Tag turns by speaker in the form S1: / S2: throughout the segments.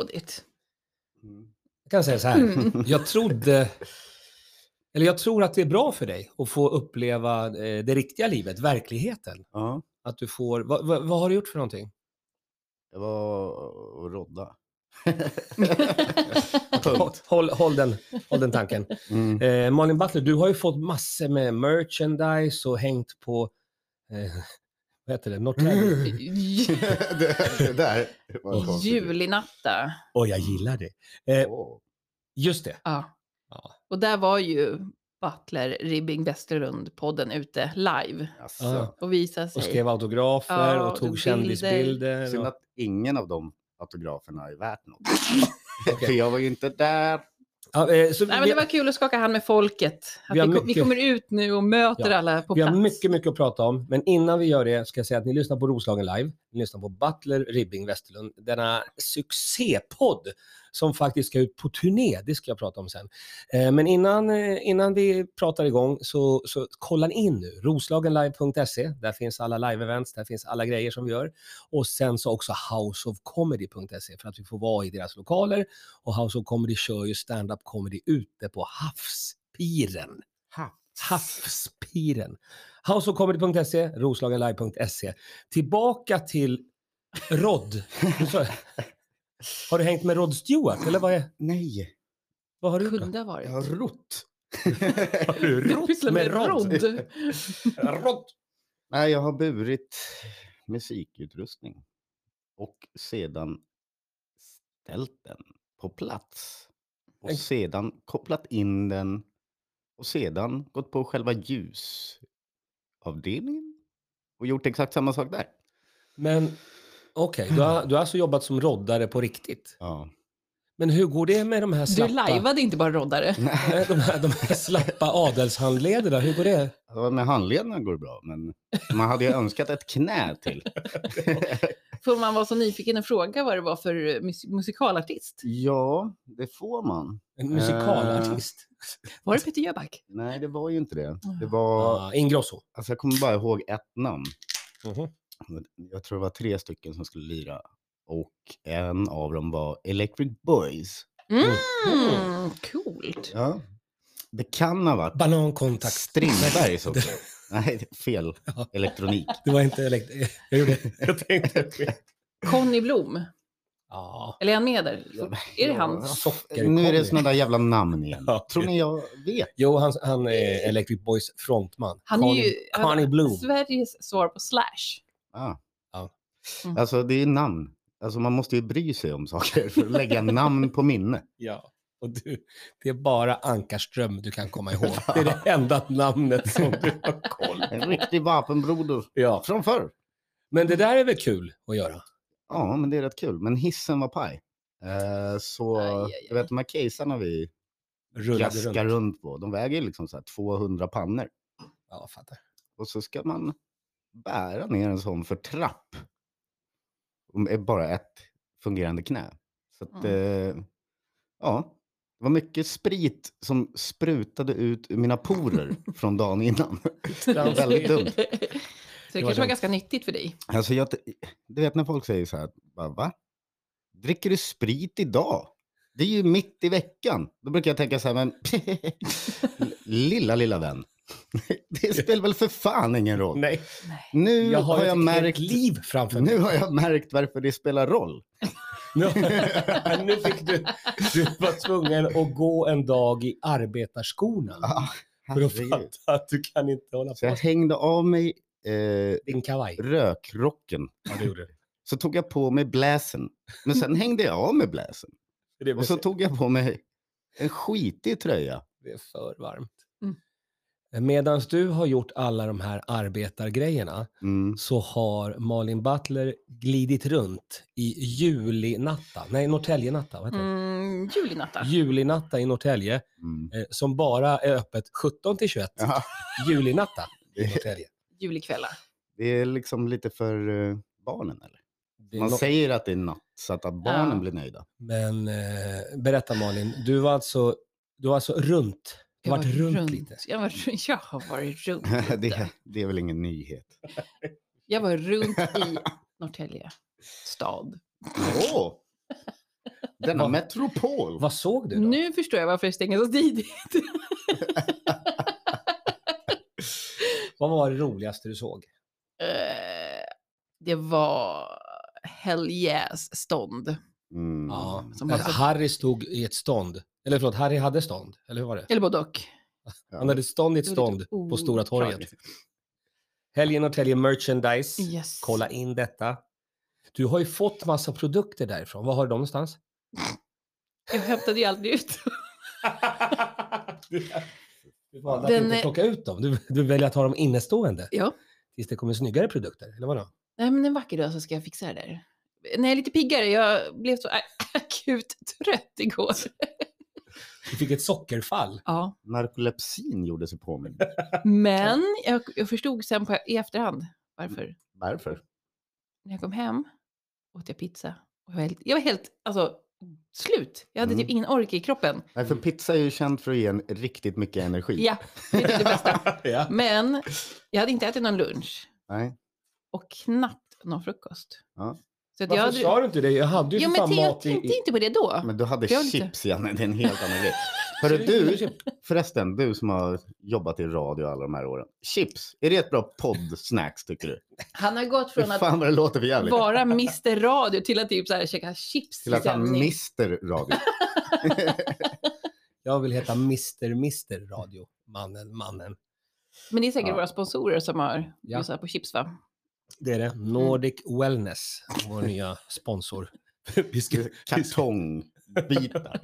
S1: rådigt.
S2: Mm.
S3: Jag kan säga så här, jag trodde... Eller jag tror att det är bra för dig att få uppleva eh, det riktiga livet, verkligheten.
S2: Ja,
S3: Att du får... Vad, vad, vad har du gjort för någonting?
S2: jag var och rodda.
S3: Håll, håll, håll, den, håll den tanken.
S2: Mm.
S3: Eh, Malin Butler, du har ju fått massor med merchandise och hängt på... Eh, vad heter det? Norrtälje?
S1: Ju-
S2: det, det där var en konstig grej.
S1: Julinatta.
S3: Åh, jag gillar det. Eh,
S2: Åh.
S3: just det.
S1: Ja.
S3: Ja.
S1: Och där var ju Butler, Ribbing Westerlund-podden ute live
S2: Jaså.
S3: Ja.
S1: och visade sig.
S3: Och skrev autografer
S1: Ja,
S3: och tog
S1: och
S3: kändisbilder.
S2: Synd
S3: Och,
S2: att ingen av de autograferna är värt något. För
S3: Okej.
S2: jag var ju inte där.
S3: ja, eh, så
S1: Nej, men
S3: vi-
S1: det var kul att skaka hand med folket. Att vi,
S3: Vi har
S1: kom, vi
S3: mycket-
S1: kommer ut nu och möter
S3: Ja,
S1: alla på
S3: Vi
S1: plats.
S3: har mycket, mycket att prata om, men innan vi gör det ska jag säga att ni lyssnar på Roslagen Live, ni lyssnar på Butler Ribbing Westerlund, denna succépodd som faktiskt ska ut på turné, det ska jag prata om sen. Eh, Men innan, eh, innan vi pratar igång så, så kolla in nu, roslagenlive.se, där finns alla live-events, där finns alla grejer som vi gör. Och sen så också houseofcomedy.se för att vi får vara i deras lokaler och House of Comedy kör ju stand-up comedy ute på havspiren. Havspiren. Houseofcomedy.se, roslagenlive.se. E. Tillbaka till Rod. Du sa- Har du hängt med Rod Stewart? Eller vad, är,
S2: Nej,
S3: vad har du gjort? då?
S1: kunde ha varit.
S2: jag har rott.
S3: Har du
S1: Jag pysslar
S3: rott med Rod?
S1: rodd.
S3: Rod.
S2: Nej, jag har burit musikutrustning och sedan ställt den på plats och
S3: En-
S2: sedan kopplat in den och sedan gått på själva ljusavdelningen och gjort exakt samma sak där.
S3: Men okej, du, har, du har alltså jobbat som roddare på riktigt.
S2: Ja.
S3: Men hur går det med de här
S1: Du
S3: slappa,
S1: lajvade inte bara roddare.
S3: Nej, de här, de här slappa adelshandlederna? Hur går det?
S2: Ja, Med handlederna går det bra, men man hade ju önskat ett knä till.
S1: Får man vara så nyfiken och fråga vad det var för eh, mus- musikalartist?
S2: Ja, det får man.
S3: En musikalartist?
S1: Var det Peter Jöback?
S2: Nej, det var ju inte det. Det
S1: Mm.
S2: var,
S3: Ah, Ingrosso?
S2: alltså jag kommer bara ihåg ett namn.
S3: Mhm.
S2: Jag tror det var tre stycken som skulle lira. Och en av dem var Electric Boys.
S1: Mm, coolt.
S2: Ja. Det kan ha varit
S3: Banankontakt.
S2: Strindbergs också. Nej, det är fel.
S3: Ja.
S2: Elektronik.
S3: Det var inte elektriskt. Jag gjorde... Jag tänkte...
S1: Conny Blom,
S3: Ja.
S1: eller är han med där? Är det han?
S2: Ja.
S3: Socker.
S2: Nu är det sådana där jävla namn igen.
S3: Ja.
S2: Tror ni jag vet?
S3: Jo, han, han är Electric Boys frontman.
S1: Han är ju
S3: Connie- Connie Bloom.
S1: Sveriges svar på Slash.
S2: Ah.
S3: Ja.
S1: Mm.
S2: Alltså, det är namn. Alltså, man måste ju bry sig om saker för att lägga namn på minne.
S3: Ja. Och du, det är bara Ankarström du kan komma ihåg. Det är det enda namnet som du har koll på.
S2: En riktig vapenbroder
S3: Ja.
S2: från förr.
S3: Men det där är väl kul att göra?
S2: Ja, men det är rätt kul. Men hissen var paj. Eh, så,
S1: Aj, aj,
S2: du vet de här casearna vi
S3: Rullade
S2: gaskar
S3: runt.
S2: runt. på, de väger ju liksom så här 200 pannor.
S3: Ja, fattar.
S2: Och så ska man bära ner en sån för trapp. Och Med bara ett fungerande knä. Så att, eh, ja. Det var mycket sprit som sprutade ut ur mina porer från dagen innan. väldigt dumt.
S1: Så det kanske
S3: var dumt.
S1: var ganska nyttigt för dig.
S2: Alltså jag, du vet när folk säger så här, bara, va? Dricker du sprit idag? Det är ju mitt i veckan. Då brukar jag tänka så här, men lilla, lilla vän. Det spelar väl för fan ingen roll.
S3: Nej,
S2: Nu
S3: jag har,
S2: jag
S3: ett
S2: märkt,
S3: märkt... liv framför mig.
S2: nu har jag märkt varför det spelar roll.
S3: Nu, nu fick du... Du var tvungen att gå en dag i arbetarskorna
S2: Ah,
S3: för att
S2: herregud.
S3: fatta att du kan inte hålla
S2: Så jag
S3: på
S2: hängde av mig eh,
S3: din kavaj.
S2: rökrocken.
S3: Ja, det gjorde du.
S2: Så tog jag på mig bläsen. Men sen hängde jag av mig bläsen.
S3: Det blev
S2: Och så tog jag på mig en skitig tröja.
S3: Det är för varmt.
S1: Mm.
S3: Medan du har gjort alla de här arbetargrejerna
S2: Mm.
S3: så har Malin Butler glidit runt i julinatta, nej Norrtäljenatta, vad heter det?
S1: Mm, julinatta.
S3: Julinatta i Norrtälje
S2: Mm.
S3: eh, som bara är öppet 17 till 21.
S2: Ja,
S3: Julinatta i Norrtälje.
S1: Julikvällar.
S2: det är liksom lite för eh, barnen eller?
S3: Det är
S2: Man
S3: no-
S2: säger att det är natt så att, att barnen
S1: Ja.
S2: blir nöjda.
S3: Men eh, berätta Malin, du var alltså, du var alltså runt, du har
S1: Jag
S3: varit
S1: har
S3: runt, lite.
S1: Jag, var, jag har varit runt. lite.
S2: det, det är väl ingen nyhet.
S1: Jag var runt i Norrtälje stad.
S2: Åh! Denna
S3: Vad-
S2: metropol.
S3: Vad såg du då?
S1: Nu förstår jag varför det stänger så tidigt.
S3: Vad var det roligaste du såg?
S1: Eh, det var Hell Yes stånd.
S2: Mm.
S3: Ja.
S1: Som
S3: Eh,
S1: var så-
S3: Harry stod i ett stånd. Eller förlåt, Harry hade stånd. Eller hur var det?
S1: Eller både och.
S2: Ja.
S3: Han hade stånd i ett
S1: Det var lite
S3: stånd på Stora torget.
S1: oklart.
S3: Helgen och Telge Merchandise.
S1: Yes.
S3: Kolla in detta. Du har ju fått massa produkter därifrån. Var har du dem någonstans?
S1: Jag hämtade ju aldrig ut.
S3: du, du valde att
S1: Den
S3: inte
S1: är-
S3: plocka ut dem. Du, du väljer att ha dem innestående.
S1: Ja.
S3: Tills det kommer snyggare produkter, eller vadå?
S1: Nej, men en vacker dag så ska jag fixa det där. När jag är lite piggare, jag blev så a- akut trött igår.
S3: Du fick ett sockerfall.
S1: Ja,
S2: Narkolepsin gjorde sig påmind.
S1: men jag, jag förstod sen på, i efterhand varför.
S2: Varför?
S1: När jag kom hem åt jag pizza. Och jag, var helt, jag var helt, alltså, slut. Jag hade
S2: Mm.
S1: typ ingen ork i kroppen.
S2: Nej, för pizza är ju känd för att ge en riktigt mycket energi.
S1: Ja, det är typ det bästa.
S3: ja.
S1: Men jag hade inte ätit någon lunch
S2: Nej.
S1: och knappt någon frukost.
S2: Ja.
S1: Så att
S3: Varför
S1: hade-
S3: sa du inte det? Jag hade ju
S1: Ja,
S3: för
S1: men
S3: fan
S1: te, jag
S3: mat i...
S1: tänkte
S3: i-
S1: inte på det då.
S2: Men du hade
S1: Jag vill inte.
S2: chips, Janne. Det är en helt annan grej. Hörru, du, förresten, du som har jobbat i radio alla de här åren. Chips, är det ett bra poddsnacks tycker du?
S1: Han har gått
S2: Fy
S1: från att
S2: fan vad det låter för jävligt.
S1: vara Mr Radio till att typ så här käka chips
S2: Till att
S1: i
S2: han
S1: sändning.
S2: mister radio.
S3: Jag vill heta Mr. Mr. Radio. Mannen, mannen.
S1: Men det är säkert
S2: Ja.
S1: våra sponsorer som har
S3: Ja.
S1: bjussat på chips va?
S3: Det är det. Nordic Wellness, vår nya sponsor. Vi ska-
S2: Kartongbitar.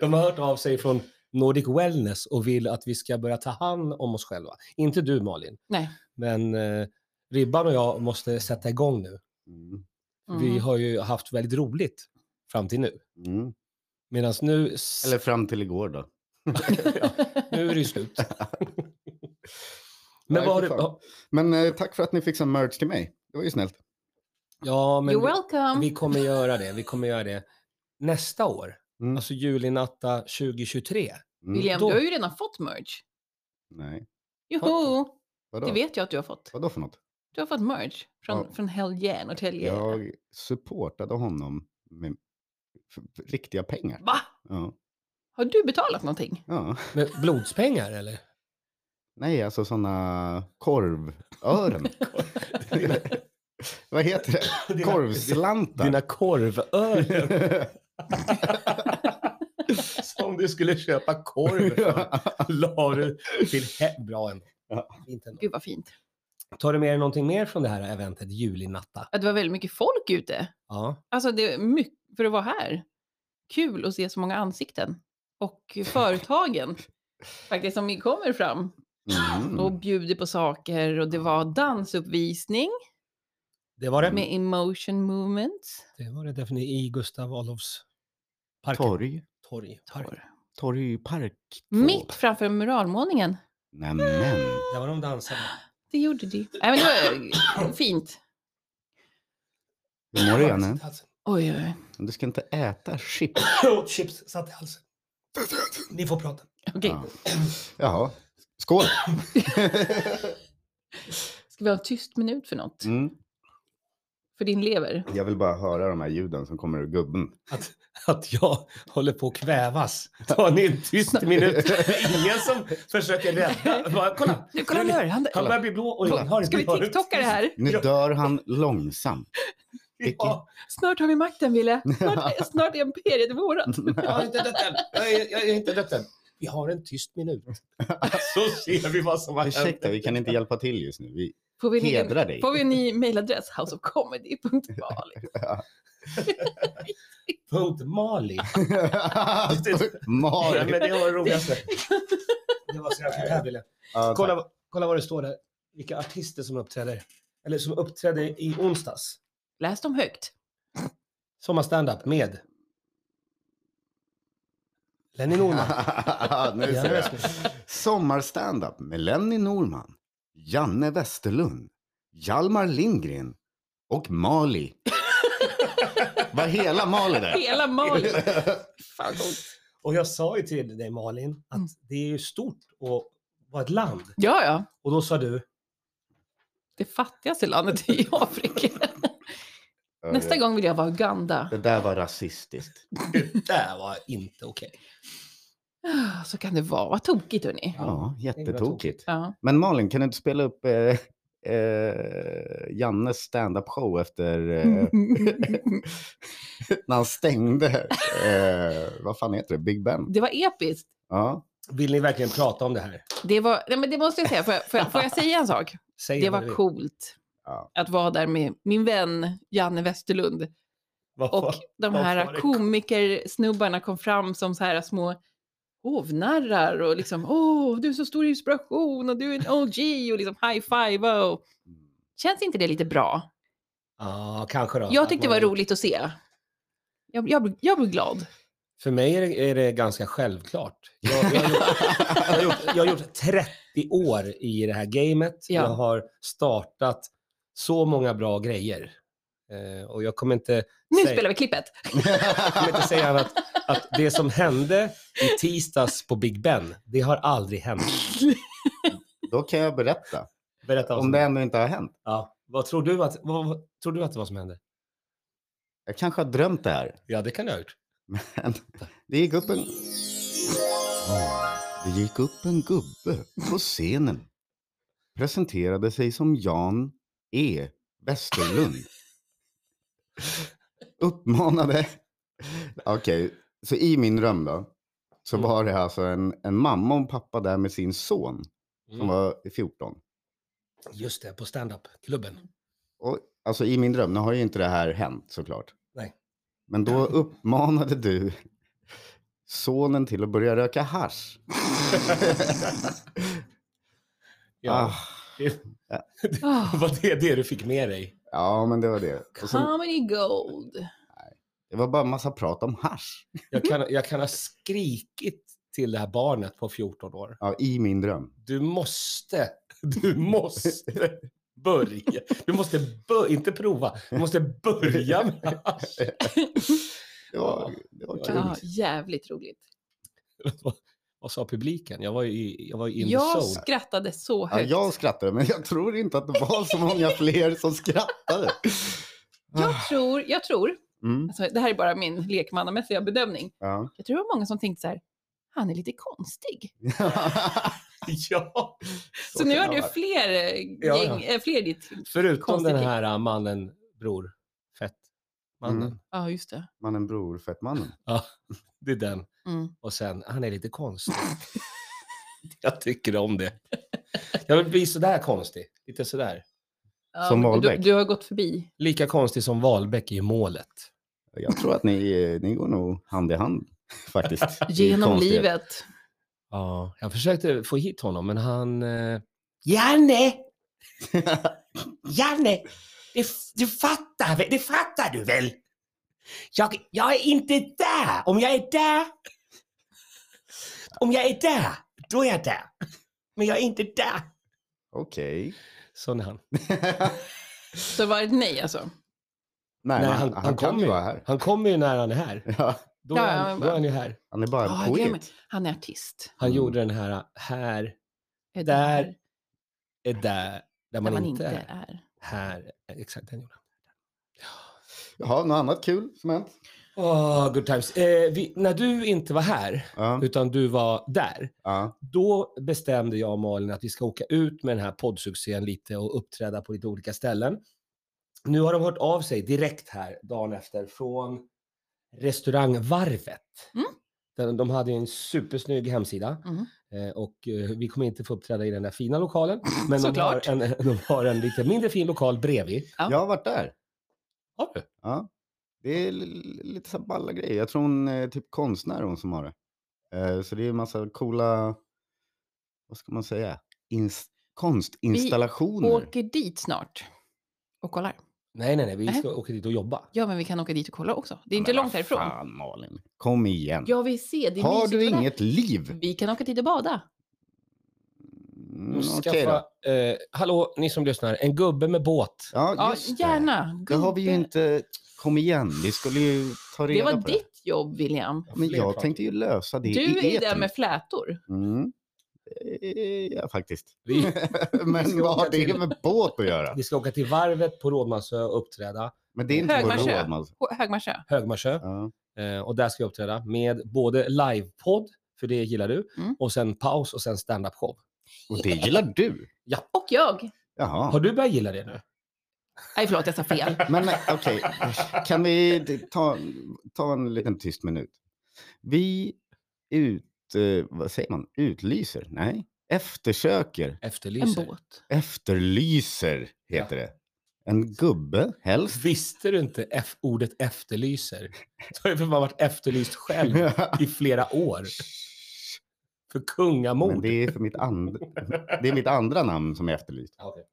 S3: De har hört av sig från Nordic Wellness och vill att vi ska börja ta hand om oss själva. Inte du Malin,
S1: Nej.
S3: men eh, Ribban och jag måste sätta igång nu.
S2: Mm.
S3: Vi
S1: Mm.
S3: har ju haft väldigt roligt fram till nu.
S2: Mm.
S3: Medan nu,
S2: Eller fram till igår då.
S3: nu är det ju slut. men
S2: Nej,
S3: vad har
S2: fy
S3: du...
S2: fan.
S3: ja,
S2: Men eh, tack för att ni fixade merch till mig. Det var ju snällt.
S3: Ja, men
S1: You're welcome.
S3: vi kommer göra det. Vi kommer göra det nästa år.
S2: Mm.
S3: Alltså julinatta 2023.
S2: Mm.
S1: William,
S3: då-
S1: du har ju redan fått merch.
S2: Nej,
S1: Joho,
S2: vadå?
S1: det vet jag att du har fått.
S2: Vadå för något?
S1: Du har fått merch från,
S2: Ja.
S1: från Helge Norrtälje.
S2: Jag supportade honom med f- f- riktiga pengar.
S1: Va?
S2: Ja.
S1: Har du betalat någonting?
S2: ja.
S3: Med blodspengar eller?
S2: Nej, alltså sådana korvören. Vad heter det?
S3: Dina-
S2: Korvslantar.
S3: Dina korvöron. Som du skulle köpa korv för. La du till he- Bra ändå.
S2: Ja.
S3: Fint ändå.
S1: Gud vad fint.
S3: Tar du med dig någonting mer från det här eventet, julinatta?
S1: Att det var väldigt mycket folk ute.
S3: Ja.
S1: Alltså det är mycket för att vara här. Kul att se så många ansikten. Och företagen faktiskt som kommer fram och
S2: Mm.
S1: bjuder på saker och det var dansuppvisning
S3: Det var det.
S1: med emotion movements.
S3: Det var det definitivt i Gustav Adolfs park.
S2: Torg.
S3: Torg. Torg.
S2: Torgpark.
S1: Mitt framför muralmålningen.
S2: Nämen.
S3: Där var de dansade.
S1: Det gjorde det. Nej, men det var eh, fint.
S2: Hur mår du Janne?
S3: Satt i halsen.
S1: Oj, oj, oj.
S2: Du ska inte äta chips.
S3: Åt Chips satt i halsen. Ni får prata.
S1: Okej,
S2: Ja. Jaha. Skål!
S1: ska vi ha en tyst minut för något?
S2: Mm.
S1: För din lever?
S2: Jag vill bara höra de här ljuden som kommer ur gubben.
S3: Att jag håller på att kvävas. Ta ni en tyst minut. Ingen som försöker rädda. Bara, kolla!
S1: Nu, kolla nu! Han,
S3: Han börjar bli blå och jag har
S1: ska vi
S3: inte varit-
S1: tiktoka det här?
S2: Nu
S3: Ja.
S2: dör han långsamt.
S3: Ja,
S1: Snart har vi makten, Ville. Snart, snart är imperiet vårat.
S3: jag har inte dött än. Jag är, jag är inte dött än. Vi har en tyst minut. Så ser vi vad som har hänt.
S2: Ursäkta, vi kan inte hjälpa till just nu. Vi
S1: Får vi, en,
S2: hedrar dig.
S1: får vi en ny mejladress? houseofcomedy.bali.
S3: Punkt Mali. Ja, men
S2: Malin.
S3: det var det roligaste. Det var så jävla det här ville.
S2: Ja, tack.
S3: Kolla, kolla vad det står där. Vilka artister som uppträder. Eller som uppträdde i onsdags.
S1: Läs dem högt.
S3: Sommarstandup med Lenny Norman.
S2: nu ser jag. Sommarstandup med Lenny Norman, Janne Westerlund, Hjalmar Lindgren och Mali. Var hela Mali där?
S1: Hela Mali. Fan, coolt.
S3: Och jag sa ju till dig Malin
S1: Mm.
S3: att det är ju stort att vara ett land.
S1: Ja, ja.
S3: Och då sa du,
S1: Det fattigaste landet i Afrika.
S2: För
S1: Nästa gång vill jag vara Uganda.
S2: Det där var rasistiskt.
S3: Det där var inte okej.
S1: Ah, Så kan det vara. Vad tokigt, hörni.
S2: Ja, jättetokigt.
S1: Ja.
S2: Men Malin, kan du inte spela upp eh, eh, Jannes stand-up-show efter eh, när han stängde, eh, vad fan heter det, Big Ben?
S1: Det var episkt.
S2: Ja,
S3: Vill ni verkligen prata om det här?
S1: Det, var, nej, men det måste jag säga. Får jag, får jag, får jag säga en sak?
S3: Säg
S1: Det
S3: vad ni
S1: var
S3: vill.
S1: coolt
S2: Ja.
S1: att vara där med min vän Janne Westerlund.
S3: Vad-
S1: Och de
S3: vad
S1: här
S3: var det?
S1: komikersnubbarna kom fram som så här små hovnarrar och liksom åh, du är så stor inspiration och du är en OG och liksom high five och
S3: Mm.
S1: känns inte det lite bra?
S3: Ja, kanske då.
S1: Jag
S3: Att
S1: tyckte det
S3: man-
S1: var roligt att se. Jag, jag, blir- jag blir glad.
S3: För mig är det, är det ganska självklart. Jag, jag, har gjort, jag, har gjort, jag har gjort 30 år i det här gamet.
S1: Ja.
S3: Jag har startat så många bra grejer. Eh, och jag kommer inte,
S1: Nu
S3: Säg.
S1: spelar vi klippet.
S3: jag kommer inte säga annat att det som hände i tisdags på Big Ben, det har aldrig hänt.
S2: då kan jag berätta.
S3: Berätta vad
S2: Om
S3: som
S2: det ännu inte har hänt.
S3: Ja. Vad tror du att, vad, vad, tror du att det var som hände?
S2: Jag kanske har drömt det här.
S3: Ja, det kan jag ha gjort.
S2: Men det gick upp en... Det gick upp en gubbe på scenen. Presenterade sig som Jan E Westerlund. Uppmanade... Okej, så i min dröm då. Så
S3: Mm.
S2: var det alltså en, en mamma och en pappa där med sin son som
S3: Mm.
S2: var 14.
S3: Just det, på stand-up-klubben.
S1: Mm.
S2: Och, alltså i min dröm, nu har ju inte det här hänt såklart.
S3: Nej.
S2: Men då uppmanade du sonen till att börja röka hasch.
S3: Ja.
S2: Ah,
S1: Oh,
S3: Var Ah. det det du fick med dig?
S2: ja, men det var det. Och sen,
S1: comedy gold.
S2: det var bara en massa prat om hasch.
S3: Jag kan, jag kan ha skrikit till det här barnet på 14 år.
S2: Ja, i min dröm.
S3: Du måste, du måste börja. Du måste börja, inte prova, du måste börja med hasch.
S2: Det var, det var kul.
S1: Ja, jävligt roligt.
S3: Vad- Vad sa publiken? Jag var ju, i- jag var ju in the
S1: Jag
S3: zone.
S1: skrattade så
S2: Ja,
S1: högt.
S2: jag skrattade, men jag tror inte att det var så många fler som skrattade. Ah,
S1: Jag tror, jag tror,
S2: Mm,
S1: alltså, det här är bara min lekmannamässiga bedömning.
S2: ja.
S1: Jag tror det var många som tänkte så här, han är lite konstig.
S3: Ja,
S1: Så, nu
S2: kan
S1: har
S2: det
S1: du
S2: vara.
S1: fler, eh, gäng,
S3: Ja, ja.
S1: eh, fler i ditt...
S3: förutom
S1: Konstigt.
S3: den här äh, mannen, bror, fett, mannen.
S2: Mm.
S1: Ja, just det.
S2: Mannen Bror, fett mannen.
S3: Det är den.
S1: Mm.
S3: Och sen, han är lite konstig. jag tycker om det. Jag vill bli sådär konstig. Lite sådär.
S1: Ja,
S2: Som
S1: men du,
S2: Wahlbeck.
S1: du har gått förbi.
S3: Lika konstig som Wahlbeck i målet.
S2: Jag tror att ni, ni går nog hand i hand faktiskt. i
S1: Genom
S2: konstighet.
S1: livet.
S3: Ja, jag försökte få hit honom, men han... Eh... Janne! Janne! Du, du, fattar, väl- det fattar du väl? Jag, jag är inte där! Om jag är där... Om jag är där, då är jag där. Men jag är inte där.
S2: Okej.
S3: Sån är han.
S1: Så var det ett nej alltså.
S2: Nej,
S3: Nej,
S2: men han,
S3: han-
S2: kan
S3: han kommer
S2: ju
S3: ju.
S2: vara här.
S3: Han kommer ju när han är här.
S2: Ja,
S3: Då är
S1: Ja,
S3: han,
S1: men-
S3: då är han ju här.
S2: han är bara
S1: Ja,
S2: en
S1: det är
S2: poet.
S1: med. Han är artist.
S3: Han
S2: Mm.
S3: gjorde den här, här
S1: Är det
S3: Där
S1: här
S3: är där, där
S1: där
S3: man, inte är.
S1: är.
S3: Här, exakt den gjorde han.
S2: Jaha, något annat kul som hänt?
S3: Åh, good times. Eh, vi, när du inte var här,
S2: Ja,
S3: utan du var där,
S2: ja.
S3: då bestämde jag och Malin att vi ska åka ut med den här poddsuccén lite och uppträda på lite olika ställen. Nu har de hört av sig direkt här dagen efter från restaurangvarvet.
S1: Mm.
S3: De, de hade ju en supersnygg hemsida
S1: Mm.
S3: eh, och eh, vi kommer inte få uppträda i den där fina lokalen. Men de
S1: Såklart.
S3: har, en, de har en lite mindre fin lokal bredvid.
S1: Ja.
S2: Jag har varit där.
S3: Har du?
S2: Ja. Det är li- lite så här balla grejer. Jag tror hon är typ konstnär hon som har det. Eh, Så det är en massa coola, vad ska man säga, Ins- konstinstallationer.
S1: Åker dit snart och kollar.
S3: Nej, nej, nej. Vi
S1: Nej.
S3: ska åka dit och jobba.
S1: Ja, men vi kan åka dit och kolla också. Det är inte
S2: Men vad
S1: långt härifrån.
S2: Fan Malin, kom igen.
S1: Jag vill se. Det är
S2: har
S1: mysigt
S2: du
S1: på det här.
S2: inget liv?
S1: Vi kan åka dit och bada.
S2: Mm, Okej då.
S3: Skaffa, eh, hallå, ni som lyssnar. En gubbe med båt.
S2: Ja,
S1: Ja,
S2: just det.
S1: gärna.
S2: Det har vi ju
S1: Gubbe.
S2: inte... Kom igen, vi skulle ju ta
S1: Det
S2: reda
S1: var
S2: på det.
S1: ditt jobb, William.
S2: Men
S3: Fler
S2: jag
S3: prat.
S2: tänkte ju lösa det
S1: Du
S2: i
S1: är den
S2: etern.
S1: med flätor.
S2: Mm. Eh, Ja, faktiskt.
S3: Vi,
S2: Men
S3: ska
S2: vad har
S3: åka till-
S2: det med båt att göra?
S3: vi ska åka till varvet på Rådmansö och uppträda.
S2: Men det är inte på
S1: Högmarsö.
S2: råd. Alltså.
S1: H- Högmarsö.
S3: Högmarsö.
S2: Ja.
S3: Eh, och där ska jag uppträda med både livepodd, för det gillar du,
S1: Mm.
S3: och sen paus och sen stand-up show.
S2: Och det gillar du?
S1: Och jag.
S3: Har
S2: Jaha.
S3: du börjat gilla det nu?
S1: Nej, förlåt, jag sa fel.
S2: Men eh, okej, kan vi d- ta, ta en liten tyst minut? Vi ut, eh, vad säger man, utlyser? Nej, eftersöker.
S1: En
S3: Efterlyser.
S1: båt.
S2: Efterlyser heter det. En gubbe helst.
S3: Visste du inte F- ordet efterlyser? Du har ju för fan varit efterlyst själv i flera år. För
S2: Men
S3: kungamord.
S2: det, är för mitt and... det är mitt andra namn som är efterlyst.
S3: Ja, okej.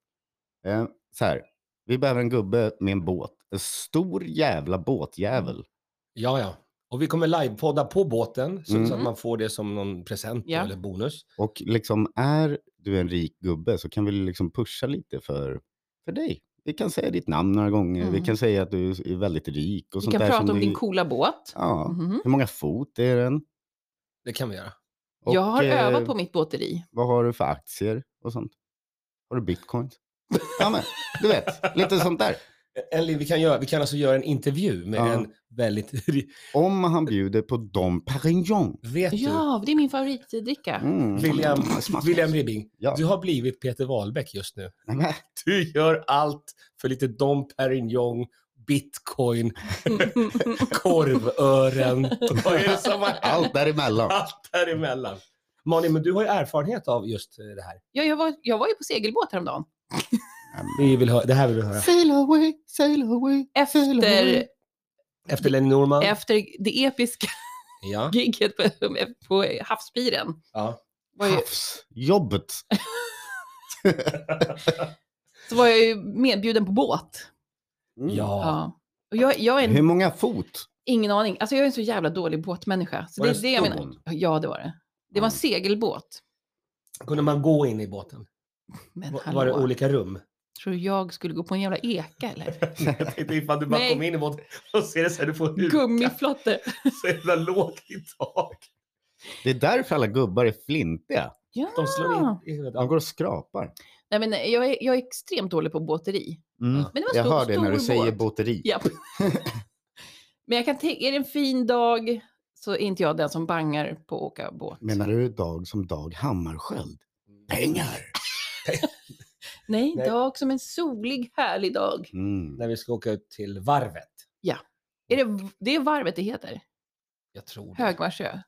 S2: Eh, så här, vi behöver en gubbe med en båt. En stor jävla båtjävel.
S3: Ja, ja. Och vi kommer livepodda på båten så, så att
S1: Mm.
S3: man får det som någon present
S1: Ja.
S3: eller bonus.
S2: Och liksom är du en rik gubbe så kan vi liksom pusha lite för, för dig. Vi kan säga ditt namn några gånger. Vi
S1: Mm.
S2: kan säga att du är väldigt rik. Och
S1: Vi
S2: sånt
S1: kan
S2: där
S1: prata
S2: som
S1: om
S2: du-
S1: din coola båt.
S2: Ja.
S1: Mhm.
S2: Hur många fot är den?
S3: Det kan vi göra.
S2: Och,
S1: Jag har
S2: eh,
S1: övat på mitt båteri.
S2: Vad har du för aktier och sånt? Har du bitcoin? ja, men du vet, lite sånt där.
S3: Eller vi kan, göra, vi kan alltså göra en intervju med
S2: Ja.
S3: en väldigt...
S2: Om han bjuder på Dom Perignon.
S3: Vet du?
S1: Ja, det är min favoritdricka.
S2: Mm.
S3: William,
S2: Smask.
S3: William Ribbing,
S2: Ja.
S3: du har blivit Peter Wahlbeck just nu.
S2: Nej, men,
S3: Du gör allt för lite Dom Perignon, bitcoin, korvören. Vad är det som har hänt?
S2: allt däremellan.
S3: Allt däremellan. Malin, men du har ju erfarenhet av just eh, det här.
S1: Ja, jag, var, jag var ju på segelbåt häromdagen.
S3: Vi vill hö- det här vill vi höra.
S2: Sail away, sail away.
S1: Efter,
S3: Efter Lenny Norman.
S1: efter det episka
S3: Ja.
S1: gigget på, på havspiren.
S3: ja.
S1: Var ju,
S2: Havsjobbet.
S1: så var jag ju medbjuden på båt.
S2: Mm.
S3: ja.
S1: Ja. Och jag, jag är
S2: Hur
S1: en,
S2: många fot?
S1: ingen aning. Alltså jag är en så jävla dålig båtmänniska. Så
S3: Var
S1: det
S3: det
S1: är det jag
S3: stor
S1: menar. Ja, det var det. Det var en segelbåt.
S3: Kunde man gå in i båten?
S1: Men
S3: Var,
S1: hallå,
S3: var det olika rum?
S1: tror du jag skulle gå på en jävla eka eller?
S3: Jag tänkte ifall du bara
S1: Nej.
S3: kom in i båten och ser det så här, du får huka
S1: Gummiflotte.
S3: så jävla lågt i tak.
S2: Det är därför alla gubbar är flintiga.
S1: Ja.
S3: De slår
S1: Ah.
S3: in i huvudet.
S2: De går och skrapar.
S1: Nej, men eh, jag, är, jag är extremt dålig på båteri.
S2: Mm.
S1: Men det var
S2: Jag
S1: stor,
S2: hör det
S1: stor
S2: när du säger
S1: båt.
S2: båteri.
S1: Japp. men jag kan tänka, är det en fin dag så är inte jag den som bangar på att åka båt.
S2: Menar du dag som Dag Hammarskjöld?
S3: Mm.
S2: Pengar!
S1: Nej,
S3: Nej.
S1: dag som en solig härlig dag.
S2: Mm.
S3: När vi ska åka ut till varvet.
S1: Är det, det är varvet det heter,
S3: Jag tror det.
S1: Högmarsö.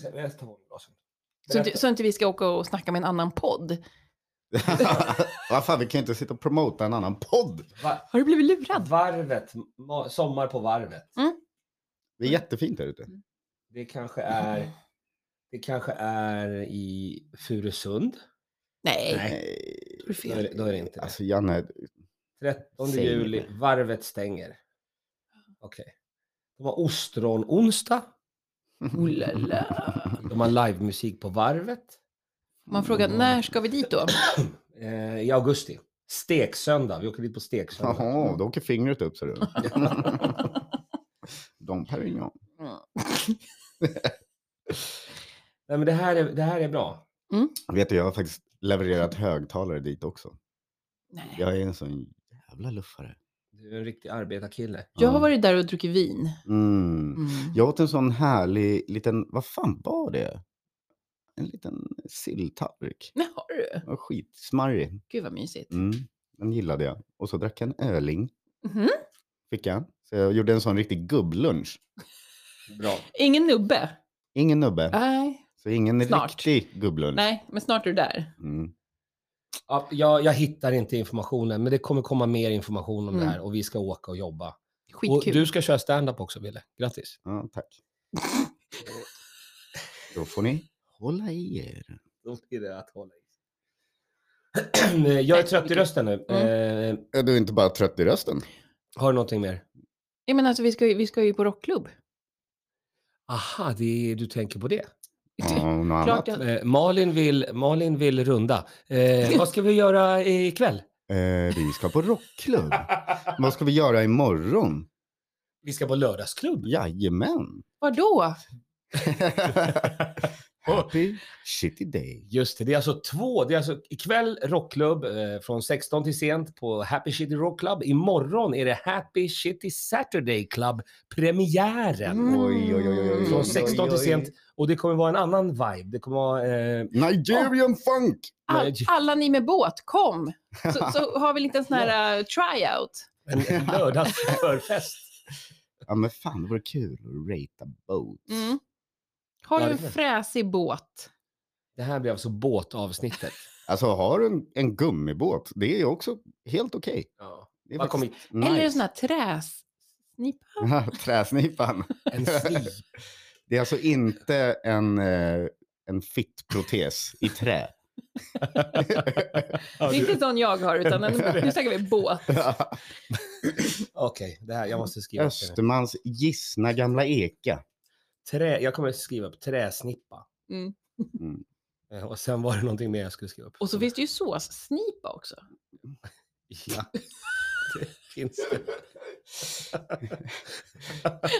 S3: Sen nästa gång, Larsson.
S1: Så, inte-
S3: Berätta.
S1: så inte vi ska åka och snacka med en annan podd.
S2: Vad fan, vi kan ju inte sitta och promota en annan podd.
S3: Va-
S1: Har du blivit lurad?
S3: Varvet, ma- sommar på varvet.
S1: Mm.
S2: Det är jättefint där ute.
S3: Det kanske är, det kanske är i Furusund.
S1: Nej.
S2: Nej.
S1: är fel. Då är
S3: det- då är det inte det.
S2: Alltså Janne,
S3: 13
S2: Säg
S3: juli,
S2: inte.
S3: varvet stänger. Okej. De har ostron-onsdag.
S1: Oh la la.
S3: De har livemusik på varvet.
S1: Man frågar,
S2: Mm.
S1: när ska vi dit då?
S3: Eh, I augusti. Steksöndag. Vi åker dit på steksöndag.
S2: jaha, då åker fingret upp ser du. Dom Perignon.
S3: Nej, men det, här är, det här är bra.
S2: Vet du, jag har faktiskt levererat högtalare dit också.
S1: Nej.
S2: Jag är en sån jävla luffare.
S3: Du är en riktig arbetarkille.
S1: Jag har
S2: Ja.
S1: varit där och druckit vin.
S2: Mm.
S1: Mm.
S2: Jag åt en sån härlig liten, vad fan var det? En liten silltallrik.
S1: Nej, har du?
S2: Den var Skitsmarrig.
S1: Gud vad mysigt.
S2: Mm. Den gillade jag. Och så drack jag en öling.
S1: Mhm.
S2: Fick jag. Så jag gjorde en sån riktig gubblunch.
S3: Bra.
S1: Ingen nubbe?
S2: Ingen nubbe.
S1: Nej.
S2: Så ingen
S1: snart.
S2: riktig gubblunch.
S1: Nej, men snart är du där.
S2: Mm.
S3: Ja, jag, jag hittar inte informationen, men det kommer komma mer information om det
S1: Mm.
S3: här och vi ska åka och jobba. Och
S1: Skitkul.
S3: du ska köra stand-up också, Ville. Grattis.
S2: Ja, tack. Då får ni hålla i er.
S3: Då blir det att hålla i. Eh, jag är trött i rösten nu.
S1: Mm.
S3: Eh,
S2: Ja, Du är inte bara trött i rösten.
S3: har du någonting mer?
S1: Ja, men alltså, vi, ska ju, vi ska ju på rockklubb.
S3: Aha, det är, du tänker på det.
S2: Ja, och något
S1: Klart
S2: annat.
S1: jag...
S3: Eh, Malin, vill, Malin vill runda. Eh, vad ska vi göra ikväll?
S2: Eh, vi ska på rockklubb. Vad ska vi göra imorgon?
S3: Vi ska på lördagsklubb.
S2: Jajamän.
S1: Vadå?
S2: Happy shitty day.
S3: Just det, det är alltså två. Det är alltså ikväll rockklubb eh, från 16 till sent på Happy Shitty Rock Club. Imorgon är det Happy Shitty Saturday Club premiären.
S1: Mm.
S2: Oj, oj, oj, oj, oj.
S3: Från 16 till sent. Och det kommer vara en annan vibe. Det kommer vara... Eh,
S2: Nigerian funk!
S1: All,
S3: Nej.
S1: alla ni med båt, kom! Så, så har vi en liten sån här eh, tryout.
S3: en en lördagsförfest.
S2: Ja men fan, det vore kul att ratea boats.
S1: Mm. Har
S3: Ja,
S1: du en
S3: det är det.
S1: fräsig båt?
S3: Det här blir alltså båtavsnittet.
S2: Alltså har du en, en gummibåt, det är ju också helt okej.
S3: Ja.
S2: Det är
S3: Bara kom
S2: faktiskt
S3: hit.
S2: nice.
S1: Eller en sån här träsnipa?
S2: Träsnipan.
S3: En slip.
S2: Det är alltså inte en, eh, en fittprotes i trä.
S1: Det är inte sån jag har, utan en, nu snackar vi båt.
S3: Okej, det här, jag måste skriva upp det. nu.
S2: Östermans gissna gamla eka.
S3: Trä, jag kommer skriva upp träsnippa.
S1: Mm.
S2: Mm.
S3: Eh, Och sen var det någonting mer jag skulle skriva upp.
S1: Och så finns det ju såssnipa också.
S3: Ja, det finns det.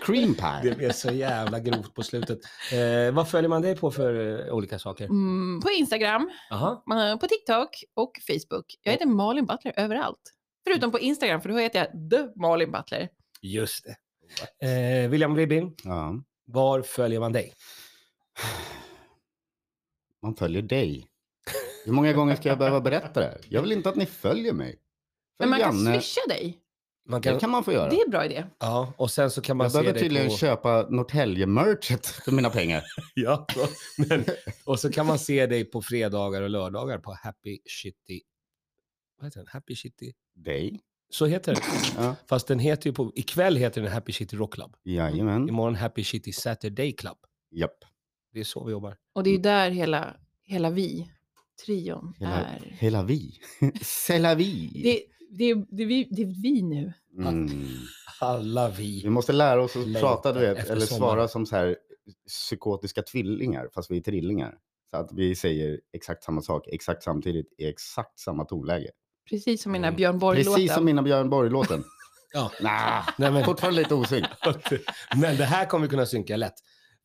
S2: Cream pie.
S3: Det blev så jävla grovt på slutet. Eh, vad följer man dig på för eh, olika saker?
S1: Mm, på Instagram,
S3: Aha.
S1: eh, på TikTok och Facebook. Jag heter Malin Butler överallt. Förutom på Instagram, för då heter jag The Malin Butler.
S3: Just det. Eh, William Ribbing,
S2: Ja.
S3: var följer man dig?
S2: Man följer dig. Hur många gånger ska jag behöva berätta det här? Jag vill inte att ni följer mig.
S1: Men
S2: Följ
S1: man kan
S2: Janne.
S1: swisha dig.
S3: Man
S2: Det kan man få göra.
S1: Det är en bra idé.
S3: Ja, och sen så kan man
S2: Jag
S3: se
S2: behöver
S3: dig
S2: tydligen
S3: på...
S2: köpa Norrtälje-merchet för mina pengar.
S3: Ja, och- men, och så kan man se dig på fredagar och lördagar på Happy Shitty... Vad heter den? Happy Shitty...
S2: Dig?
S3: Så heter den.
S2: Ja.
S3: Fast den heter ju på... Ikväll heter den Happy Shitty Rock Club.
S2: Jajamän.
S3: Imorgon Happy Shitty Saturday Club.
S2: Japp.
S3: Det är så vi jobbar.
S1: Och det är ju där hela, hela vi, trion,
S2: Hela,
S1: är.
S2: hela vi. Sela vi.
S1: Det, det, det, är vi, det är vi nu.
S2: Mm.
S3: Alla
S2: Vi
S3: vi.
S2: måste lära oss att
S3: Längtar
S2: prata, du vet,
S3: efter
S2: eller
S3: sommaren.
S2: svara som så här psykotiska tvillingar, fast vi är trillingar. Så att vi säger exakt samma sak exakt samtidigt i exakt samma tonläge.
S1: Precis som i den här
S3: Mm.
S1: Björn Borg-låten.
S2: Precis som mina Björn Borg-låten.
S3: Ja.
S2: Nah,
S3: Nej, men,
S2: fortfarande lite osynk.
S3: men det här kommer vi kunna synka lätt.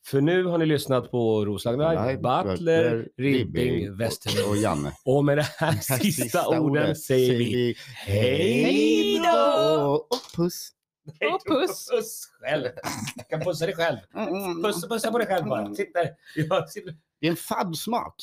S3: För nu har ni lyssnat på Roslagen Live, Butler, Ribbing,
S2: och-
S3: Westerlund.
S2: och Janne.
S3: Och med det här sista, orden säger vi hej då!
S2: Och puss.
S1: Och puss. Mm.
S3: Puss själv. Jag kan pussa dig mm. själv. Puss, pussa på dig själv bara. Sitter. Jag sitter.
S2: Det är en fadd smak.